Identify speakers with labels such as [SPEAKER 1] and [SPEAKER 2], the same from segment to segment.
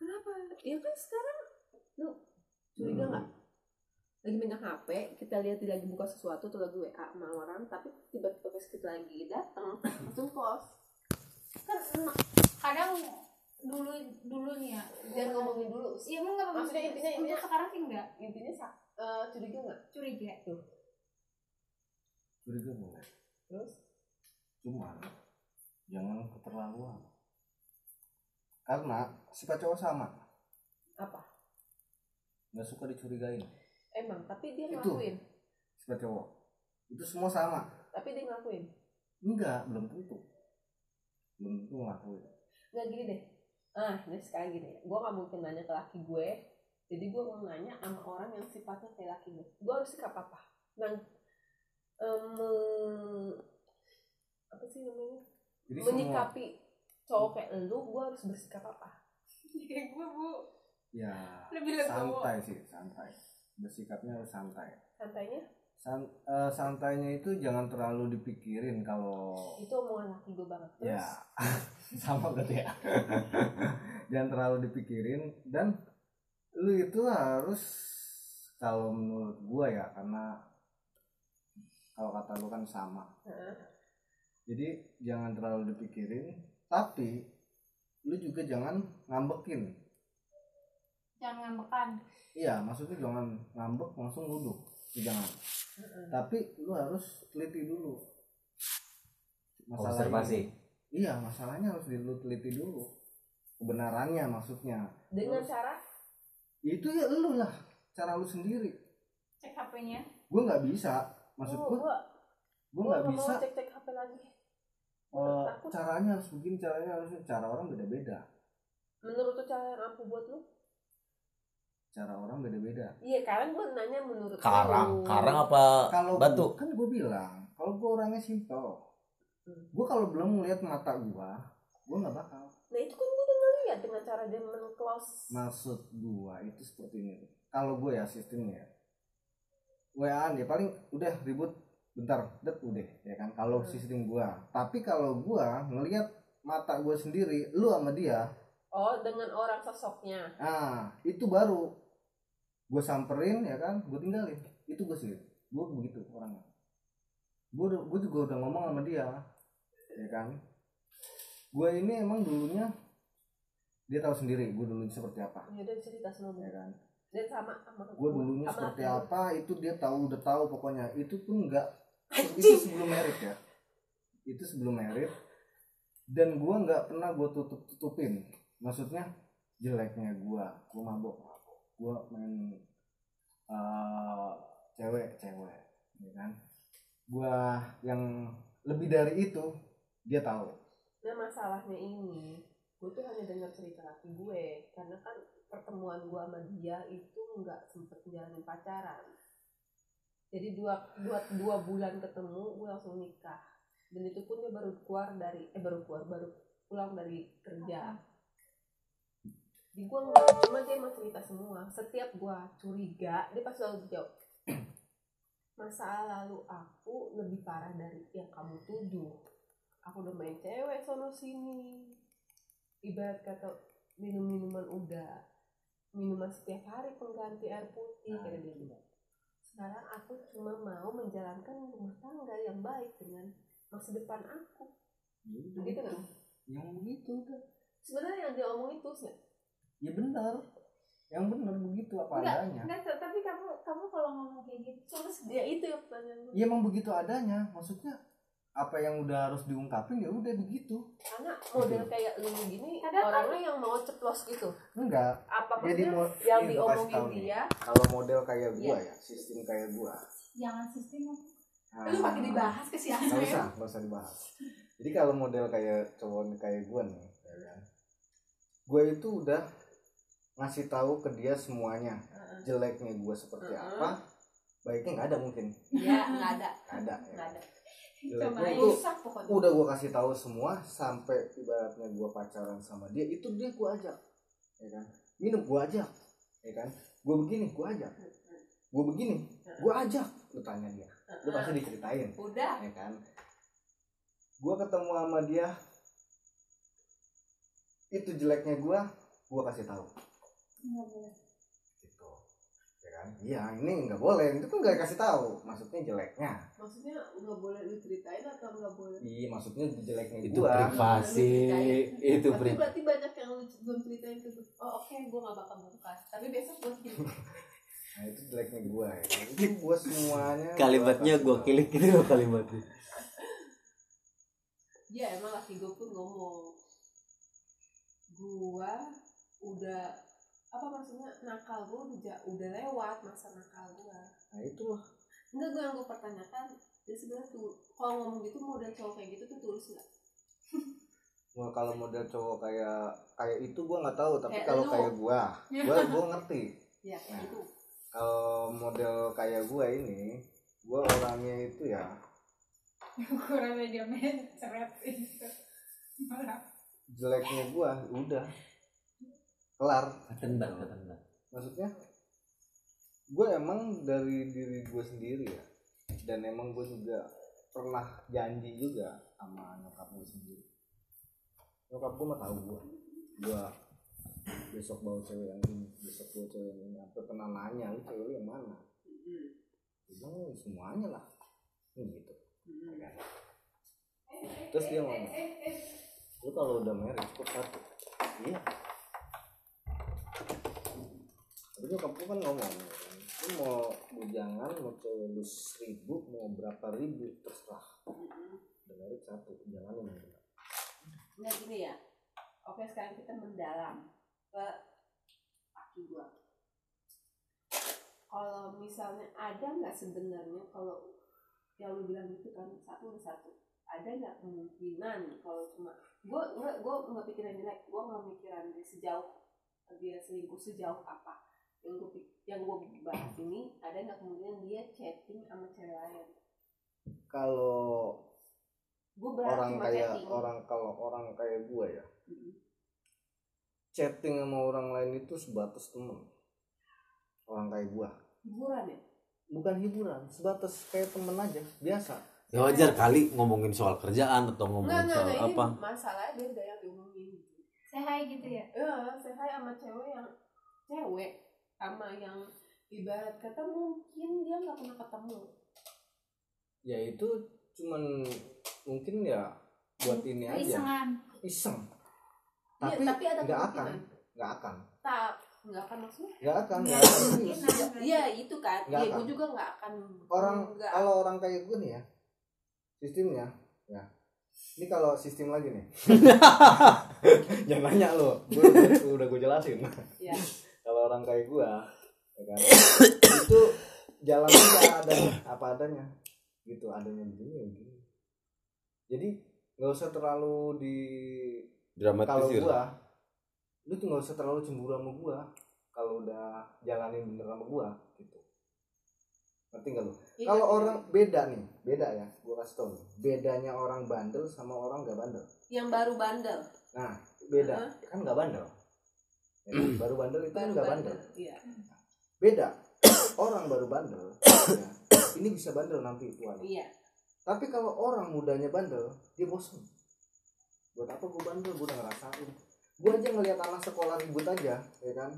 [SPEAKER 1] ya kan sekarang lu
[SPEAKER 2] Hmm.
[SPEAKER 1] curiga nggak lagi megang HP kita lihat dia lagi buka sesuatu atau lagi WA sama orang tapi tiba-tiba pas kita lagi datang langsung post
[SPEAKER 3] kan emak- kadang dulu dulu nih ya
[SPEAKER 1] jangan ngomongin dulu
[SPEAKER 3] iya emang nggak
[SPEAKER 1] Maksudnya
[SPEAKER 3] maksudnya
[SPEAKER 1] intinya-
[SPEAKER 3] untuk
[SPEAKER 1] intinya-
[SPEAKER 3] sekarang sih nggak
[SPEAKER 1] intinya sak- eh, curiga nggak
[SPEAKER 3] curiga
[SPEAKER 2] curiga boleh
[SPEAKER 1] terus
[SPEAKER 2] cuman jangan keterlaluan karena sifat cowok sama
[SPEAKER 1] apa
[SPEAKER 2] nggak suka dicurigain
[SPEAKER 1] emang tapi dia
[SPEAKER 2] Itu.
[SPEAKER 1] ngelakuin
[SPEAKER 2] sifat cowok itu semua sama
[SPEAKER 1] tapi dia ngelakuin
[SPEAKER 2] enggak belum tentu belum tentu ngelakuin
[SPEAKER 1] nggak gini deh ah ini sekarang gini gue nggak mungkin nanya ke laki gue jadi gue mau nanya sama orang yang sifatnya kayak laki gue gue harus sikap apa nang em, apa sih namanya
[SPEAKER 2] jadi semua
[SPEAKER 1] menyikapi cowok kayak lu gue harus bersikap apa
[SPEAKER 3] kayak gue bu
[SPEAKER 2] ya
[SPEAKER 3] lebih
[SPEAKER 2] santai sih santai bersikapnya harus santai
[SPEAKER 1] santainya
[SPEAKER 2] San- eh, santainya itu jangan terlalu dipikirin kalau
[SPEAKER 1] itu omongan laki gue banget
[SPEAKER 2] ya
[SPEAKER 1] terus
[SPEAKER 2] sama berarti ya jangan terlalu dipikirin dan lu itu harus kalau menurut gua ya karena kalau kata lu kan sama
[SPEAKER 1] Heeh.
[SPEAKER 2] jadi jangan terlalu dipikirin tapi lu juga jangan ngambekin
[SPEAKER 3] jangan ngambekan
[SPEAKER 2] iya maksudnya jangan ngambek langsung duduk jangan
[SPEAKER 1] Heeh.
[SPEAKER 2] tapi lu harus teliti dulu Masalahnya-
[SPEAKER 4] observasi
[SPEAKER 2] Iya, masalahnya harus diteliti dulu. Kebenarannya maksudnya.
[SPEAKER 1] dengan
[SPEAKER 2] Terus?
[SPEAKER 1] cara
[SPEAKER 2] Itu ya lu lah, cara lu sendiri.
[SPEAKER 3] cek HP-nya
[SPEAKER 2] Gue nggak bisa. Maksud
[SPEAKER 1] oh,
[SPEAKER 2] gue,
[SPEAKER 1] gue
[SPEAKER 2] gue nggak
[SPEAKER 1] mau
[SPEAKER 2] bisa.
[SPEAKER 1] cek cek hp lagi
[SPEAKER 2] eh,
[SPEAKER 1] takut.
[SPEAKER 2] caranya harus begini, caranya harus begini. cara orang beda-beda.
[SPEAKER 1] menurut lu cara yang ampuh buat lu
[SPEAKER 2] Cara orang beda-beda.
[SPEAKER 1] iya karena gue nanya menurut lu.
[SPEAKER 4] karang karang apa
[SPEAKER 2] Kalau
[SPEAKER 4] batu.
[SPEAKER 2] gua- kan gue bilang, kalau gue orangnya simpel.
[SPEAKER 1] Hmm.
[SPEAKER 2] Gue kalau belum ngeliat mata gue, gue nggak bakal.
[SPEAKER 1] Nah itu kan gue udah ngeliat dengan cara dia men-close
[SPEAKER 2] Maksud gua itu seperti ini. Kalau gue ya sistemnya WA ya paling udah ribut bentar dek udah ya kan kalau
[SPEAKER 1] Hmm.
[SPEAKER 2] sistem gua tapi kalau gua ngelihat mata gua sendiri lu sama dia
[SPEAKER 1] Oh dengan orang sosoknya
[SPEAKER 2] ah itu baru gua samperin ya kan gua tinggalin itu gua sih gua begitu orangnya gua udah- gua juga udah ngomong sama dia ya kan gua ini emang dulunya dia tahu sendiri gua dulunya seperti apa
[SPEAKER 1] Ya udah cerita
[SPEAKER 2] ya
[SPEAKER 1] semua
[SPEAKER 2] kan
[SPEAKER 1] Dan sama sama
[SPEAKER 2] gue dulunya
[SPEAKER 1] sama
[SPEAKER 2] seperti
[SPEAKER 1] laki lu.
[SPEAKER 2] apa itu dia tahu udah tahu pokoknya itu pun enggak itu
[SPEAKER 1] Anjing
[SPEAKER 2] sebelum merit ya itu sebelum merit dan gua nggak pernah gue tutup tutupin maksudnya jeleknya gua gua mabok mabok gua main eh, cewek cewek ya kan gua yang lebih dari itu dia tahu
[SPEAKER 1] Nah masalahnya ini Gue tuh hanya dengar cerita laki gue Karena kan pertemuan gue sama dia itu nggak sempet jalanin pacaran Jadi dua, dua, dua bulan ketemu gue langsung nikah Dan itu pun dia baru keluar dari Eh baru keluar baru pulang dari kerja di gua nggak cuma dia emang cerita semua setiap gua curiga dia pasti selalu jawab masa lalu aku lebih parah dari yang kamu tuduh aku udah main cewek sono sini ibarat kata minum minuman udah minuman setiap hari pengganti air putih
[SPEAKER 2] Nah,
[SPEAKER 1] kata dia gitu. sekarang aku cuma mau menjalankan rumah tangga yang baik dengan masa depan aku gitu kan
[SPEAKER 2] Ya yang begitu udah
[SPEAKER 1] sebenarnya yang dia omongin itu nggak
[SPEAKER 2] ya benar yang benar begitu apa
[SPEAKER 3] Enggak,
[SPEAKER 2] adanya
[SPEAKER 3] Nggak, t- tapi kamu kamu kalau ngomong kayak gitu terus
[SPEAKER 1] ya itu yang pertanyaan gue
[SPEAKER 2] ya emang begitu adanya maksudnya apa yang udah harus diungkapin ya udah begitu
[SPEAKER 1] karena model kayak lu gini
[SPEAKER 3] Kadang
[SPEAKER 1] orangnya yang mau ceplos gitu
[SPEAKER 2] enggak
[SPEAKER 1] apa
[SPEAKER 2] jadi
[SPEAKER 1] maksudnya yang
[SPEAKER 2] mau ini Iya, gua kasih tahu
[SPEAKER 1] diomongin
[SPEAKER 2] nih.
[SPEAKER 1] dia Iya.
[SPEAKER 2] kalau model kayak gua ya sistem kayak gua
[SPEAKER 3] jangan sistem
[SPEAKER 2] nah,
[SPEAKER 3] lu pakai dibahas kesian
[SPEAKER 2] nggak
[SPEAKER 3] ya
[SPEAKER 2] usah nggak usah dibahas jadi kalau model kayak cowok kayak gua nih ya kan gua itu udah ngasih tahu ke dia semuanya
[SPEAKER 1] Heeh.
[SPEAKER 2] jeleknya gua seperti
[SPEAKER 1] Heeh.
[SPEAKER 2] apa baiknya nggak ada mungkin
[SPEAKER 1] ya nggak ada
[SPEAKER 2] nggak ada ya
[SPEAKER 1] nggak ada
[SPEAKER 3] cuma
[SPEAKER 2] Jeleknya itu
[SPEAKER 3] rusak pokoknya
[SPEAKER 2] udah gue kasih tahu semua sampai ibaratnya gue pacaran sama dia itu dia gue ajak ya kan minum gue ajak ya kan gue begini gue ajak gue begini gue ajak lu tanya dia lu pasti diceritain
[SPEAKER 3] udah
[SPEAKER 2] ya kan gue ketemu sama dia itu jeleknya gue gue kasih tahu
[SPEAKER 3] nggak boleh
[SPEAKER 2] gitu ya kan iya ini nggak boleh itu kan nggak dikasih tahu maksudnya jeleknya
[SPEAKER 1] maksudnya nggak boleh diceritain atau nggak boleh
[SPEAKER 2] iya maksudnya jeleknya
[SPEAKER 4] itu
[SPEAKER 2] gua.
[SPEAKER 4] privasi itu
[SPEAKER 1] Iya, tapi
[SPEAKER 4] pri
[SPEAKER 1] berarti banyak yang lu c- belum ceritain ke gue. oh oke gue gak bakal buka tapi besok gue kirim
[SPEAKER 2] nah itu jeleknya gua ya itu gua semuanya
[SPEAKER 4] kalimatnya
[SPEAKER 2] gua
[SPEAKER 4] gua
[SPEAKER 2] kasih
[SPEAKER 4] kilik gitu loh kalimatnya
[SPEAKER 1] ya emang laki gue pun ngomong gua udah apa maksudnya nakal gue udah udah lewat masa nakal gua
[SPEAKER 2] tahu. nah itu lah
[SPEAKER 1] enggak gue yang gue pertanyakan dia sebenarnya tuh kalau ngomong gitu model cowok kayak gitu tuh tulus nggak
[SPEAKER 2] Wah, kalau model cowok kayak kayak itu gua nggak tahu tapi
[SPEAKER 1] Kayak
[SPEAKER 2] kalau
[SPEAKER 1] lu.
[SPEAKER 2] kayak gua gua gua ngerti
[SPEAKER 1] ya kayak gitu
[SPEAKER 4] Nah.
[SPEAKER 2] kalau model kayak gua ini gua orangnya itu ya
[SPEAKER 3] ukurannya dia main seret itu malah
[SPEAKER 2] jeleknya gua udah kelar
[SPEAKER 4] tendang tendang
[SPEAKER 2] maksudnya gue emang dari diri gue sendiri ya dan emang gue juga pernah janji juga sama nyokap gue sendiri nyokap gue mah tahu gue gue besok bawa cewek yang ini besok bawa cewek yang ini sampai pernah nanya lu cewek lu yang mana gue bilang semuanya lah Ini gitu
[SPEAKER 1] Hmm.
[SPEAKER 2] Ya kan? terus dia ngomong lu kalau udah married kok satu iya tapi nyokap gue kan ngomong lu mau bujangan mau cewek lu seribu mau berapa ribu terserah udah married satu jangan yang benar
[SPEAKER 1] Nah gini ya, oke sekarang kita mendalam ke kaki gua. Kalau misalnya ada nggak sebenarnya kalau yang lu bilang itu kan satu satu, ada nggak kemungkinan kalau cuma gua nggak gua nggak pikiran jelek, gua nggak mikiran dia sejauh dia selingkuh sejauh apa yang gua pik- yang gua bahas ini ada nggak kemungkinan dia chatting sama cewek lain?
[SPEAKER 2] kalau
[SPEAKER 1] Gua berharap
[SPEAKER 2] orang
[SPEAKER 1] cuma
[SPEAKER 2] kayak
[SPEAKER 1] chatting.
[SPEAKER 2] orang kalau orang kayak gue ya
[SPEAKER 1] Mm-mm.
[SPEAKER 2] chatting sama orang lain itu sebatas temen orang kayak gue
[SPEAKER 1] hiburan ya.
[SPEAKER 2] bukan hiburan sebatas kayak temen aja biasa
[SPEAKER 4] ya wajar kali ngomongin soal kerjaan atau
[SPEAKER 1] Enggak,
[SPEAKER 4] ngomongin
[SPEAKER 1] enggak,
[SPEAKER 4] soal
[SPEAKER 1] enggak. Ini
[SPEAKER 4] apa
[SPEAKER 1] masalahnya beda yang diomongin gitu.
[SPEAKER 3] sehai gitu ya
[SPEAKER 1] Ya, saya kayak sama cewek yang cewek sama yang ibarat kata mungkin dia nggak pernah ketemu.
[SPEAKER 2] ya itu cuman mungkin ya buat ini Ya aja
[SPEAKER 3] isengan
[SPEAKER 2] iseng
[SPEAKER 1] Iya,
[SPEAKER 2] tapi
[SPEAKER 1] tapi ada
[SPEAKER 2] nggak akan
[SPEAKER 1] kemungkinan.
[SPEAKER 2] nggak akan
[SPEAKER 1] Tak, nggak akan maksudnya.
[SPEAKER 2] nggak akan
[SPEAKER 3] Nggak
[SPEAKER 2] Iya, nggak
[SPEAKER 3] ada
[SPEAKER 2] akan.
[SPEAKER 3] kemungkinan.
[SPEAKER 1] Iya, itu kan.
[SPEAKER 2] Nggak
[SPEAKER 1] Iya,
[SPEAKER 2] akan.
[SPEAKER 1] gue juga nggak akan.
[SPEAKER 2] orang
[SPEAKER 1] nggak
[SPEAKER 2] kalau orang kayak gue nih ya sistemnya ya ini kalau sistem lagi nih jangan nanya lo gue udah gue jelasin
[SPEAKER 1] ya.
[SPEAKER 2] kalau orang kayak gue ya kan itu jalannya ya adanya apa adanya gitu adanya begini ya begini jadi nggak usah terlalu di kalau
[SPEAKER 4] dramatisir
[SPEAKER 2] gua lu tuh nggak usah terlalu cemburu sama gua kalau udah jalanin bener sama gua gitu ngerti nggak lu
[SPEAKER 1] Iya,
[SPEAKER 2] kalau
[SPEAKER 1] iya.
[SPEAKER 2] orang beda nih beda ya gua kasih tau nih. bedanya orang bandel sama orang nggak bandel
[SPEAKER 1] yang baru bandel,
[SPEAKER 2] nah beda
[SPEAKER 1] Hah?
[SPEAKER 2] kan nggak bandel Ya kan? baru bandel itu kan
[SPEAKER 1] baru
[SPEAKER 2] nggak
[SPEAKER 1] bandel.
[SPEAKER 2] bandel
[SPEAKER 1] Iya.
[SPEAKER 2] beda orang baru bandel ya, ini bisa bandel nanti tuan
[SPEAKER 1] Iya.
[SPEAKER 2] tapi kalau orang mudanya bandel, dia bosan. Buat apa gue bandel? Gue udah ngerasain. Gue aja ngelihat anak sekolah ribut aja, ya kan?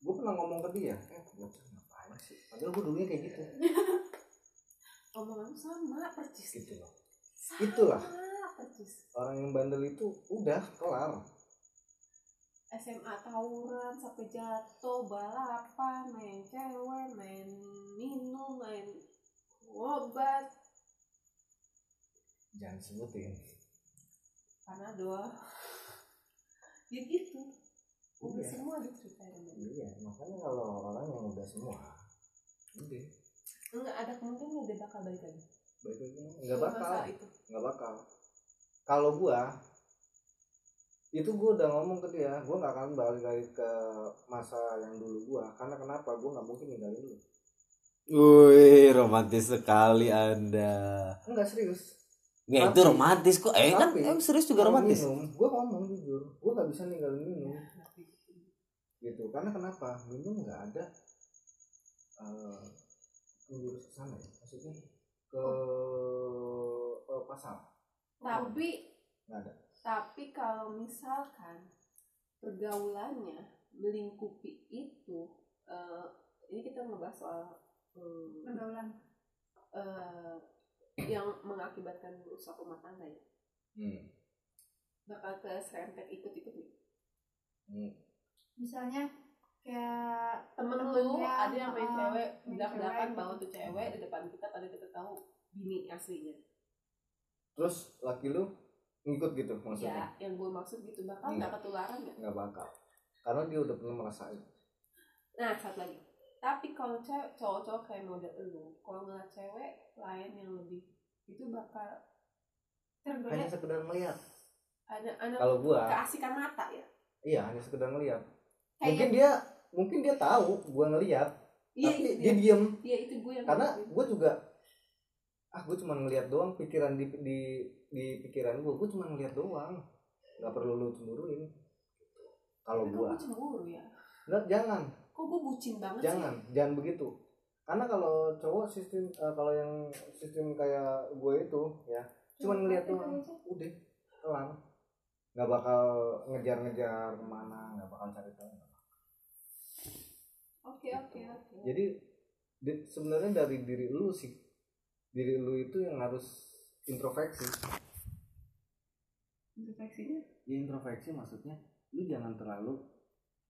[SPEAKER 2] Gue pernah ngomong ke dia, eh, bocah ngapain sih? Padahal gue dulunya kayak gitu.
[SPEAKER 1] Omongan sama percis.
[SPEAKER 2] Gitu loh.
[SPEAKER 1] Sama
[SPEAKER 2] Itulah.
[SPEAKER 1] percis.
[SPEAKER 2] Orang yang bandel itu udah kelar.
[SPEAKER 1] SMA tawuran sampai jatuh balapan main cewek main minum main obat
[SPEAKER 2] Jangan sebutin.
[SPEAKER 1] panadol ya gitu udah
[SPEAKER 2] Iya.
[SPEAKER 1] semua diceritain sama dia.
[SPEAKER 2] Iya, makanya kalau orang yang udah semua, udah.
[SPEAKER 1] enggak ada kemungkinan dia bakal balik lagi
[SPEAKER 2] Baik aja. Nggak
[SPEAKER 1] Cuma
[SPEAKER 2] bakal.
[SPEAKER 1] masalah itu
[SPEAKER 2] nggak bakal kalau gua itu gua udah ngomong ke dia gua nggak akan balik lagi ke masa yang dulu gua karena kenapa gua nggak mungkin ninggalin lu
[SPEAKER 4] Wih, romantis sekali Anda.
[SPEAKER 2] enggak serius
[SPEAKER 4] Ya itu
[SPEAKER 2] Tapi-
[SPEAKER 4] romantis kok. Eh kan
[SPEAKER 2] tapi-
[SPEAKER 4] emang serius juga
[SPEAKER 2] Kalau
[SPEAKER 4] romantis.
[SPEAKER 2] minum gua ngomong jujur gua nggak bisa ninggalin minum gitu karena kenapa minum nggak ada eh menjurus ke sana ya maksudnya ke eh, pasar
[SPEAKER 1] tapi
[SPEAKER 2] nggak ada
[SPEAKER 1] tapi kalau misalkan pergaulannya melingkupi itu eh, ini kita ngebahas soal hmm,
[SPEAKER 3] pergaulan
[SPEAKER 1] eh, yang mengakibatkan rusak rumah tangga ya
[SPEAKER 2] Hmm.
[SPEAKER 1] bakal keserempet ikut-ikut nih
[SPEAKER 2] Hmm.
[SPEAKER 3] misalnya kayak
[SPEAKER 1] temen lu
[SPEAKER 3] Temennya,
[SPEAKER 1] ada yang main
[SPEAKER 3] ah,
[SPEAKER 1] cewek gitu.
[SPEAKER 3] main
[SPEAKER 1] belak belakan
[SPEAKER 3] cewek.
[SPEAKER 1] bawa tuh cewek di depan kita pada kita tahu bini aslinya
[SPEAKER 2] Terus laki lu ngikut gitu maksudnya?
[SPEAKER 1] ya yang gue maksud gitu bakal
[SPEAKER 2] Iya.
[SPEAKER 1] nggak ketularan ya
[SPEAKER 2] Nggak bakal. Karena dia udah pernah merasain.
[SPEAKER 1] nah satu lagi tapi kalau cewek cowok-cowok kayak model lu kalau ngeliat cewek lain yang lebih itu bakal
[SPEAKER 2] Hanya
[SPEAKER 3] tergoda
[SPEAKER 2] sekedar melihat.
[SPEAKER 1] ada anak
[SPEAKER 2] Kalau gua,
[SPEAKER 1] keasikan mata ya
[SPEAKER 2] iya hanya sekedar melihat. Mungkin
[SPEAKER 3] kayak
[SPEAKER 2] dia mungkin dia tahu gua ngelihat,
[SPEAKER 1] iya
[SPEAKER 2] tapi
[SPEAKER 1] itu
[SPEAKER 2] dia
[SPEAKER 1] dia,
[SPEAKER 2] diem
[SPEAKER 1] Iya, itu gue yang
[SPEAKER 2] karena
[SPEAKER 1] ngelakuin.
[SPEAKER 2] gue juga ah gue cuma ngelihat doang pikiran di di di pikiran gue gue cuma ngelihat doang nggak perlu lu cemburuin kalau
[SPEAKER 1] Tapi kok
[SPEAKER 2] gue
[SPEAKER 1] gue cemburu ya
[SPEAKER 2] nggak jangan
[SPEAKER 1] kok gue bucin banget
[SPEAKER 2] jangan jangan begitu karena kalau cowok sistem eh, kalau yang sistem kayak gue itu ya cuma
[SPEAKER 1] Iya,
[SPEAKER 2] ngelihat doang
[SPEAKER 3] gitu.
[SPEAKER 2] udah kelar nggak bakal ngejar-ngejar kemana nggak bakal cari tahu
[SPEAKER 1] sih oke oke oke
[SPEAKER 2] jadi di- sebenarnya dari diri lu sih diri lu itu yang harus introspeksi
[SPEAKER 1] introspeksinya
[SPEAKER 2] ya introspeksi maksudnya lu jangan terlalu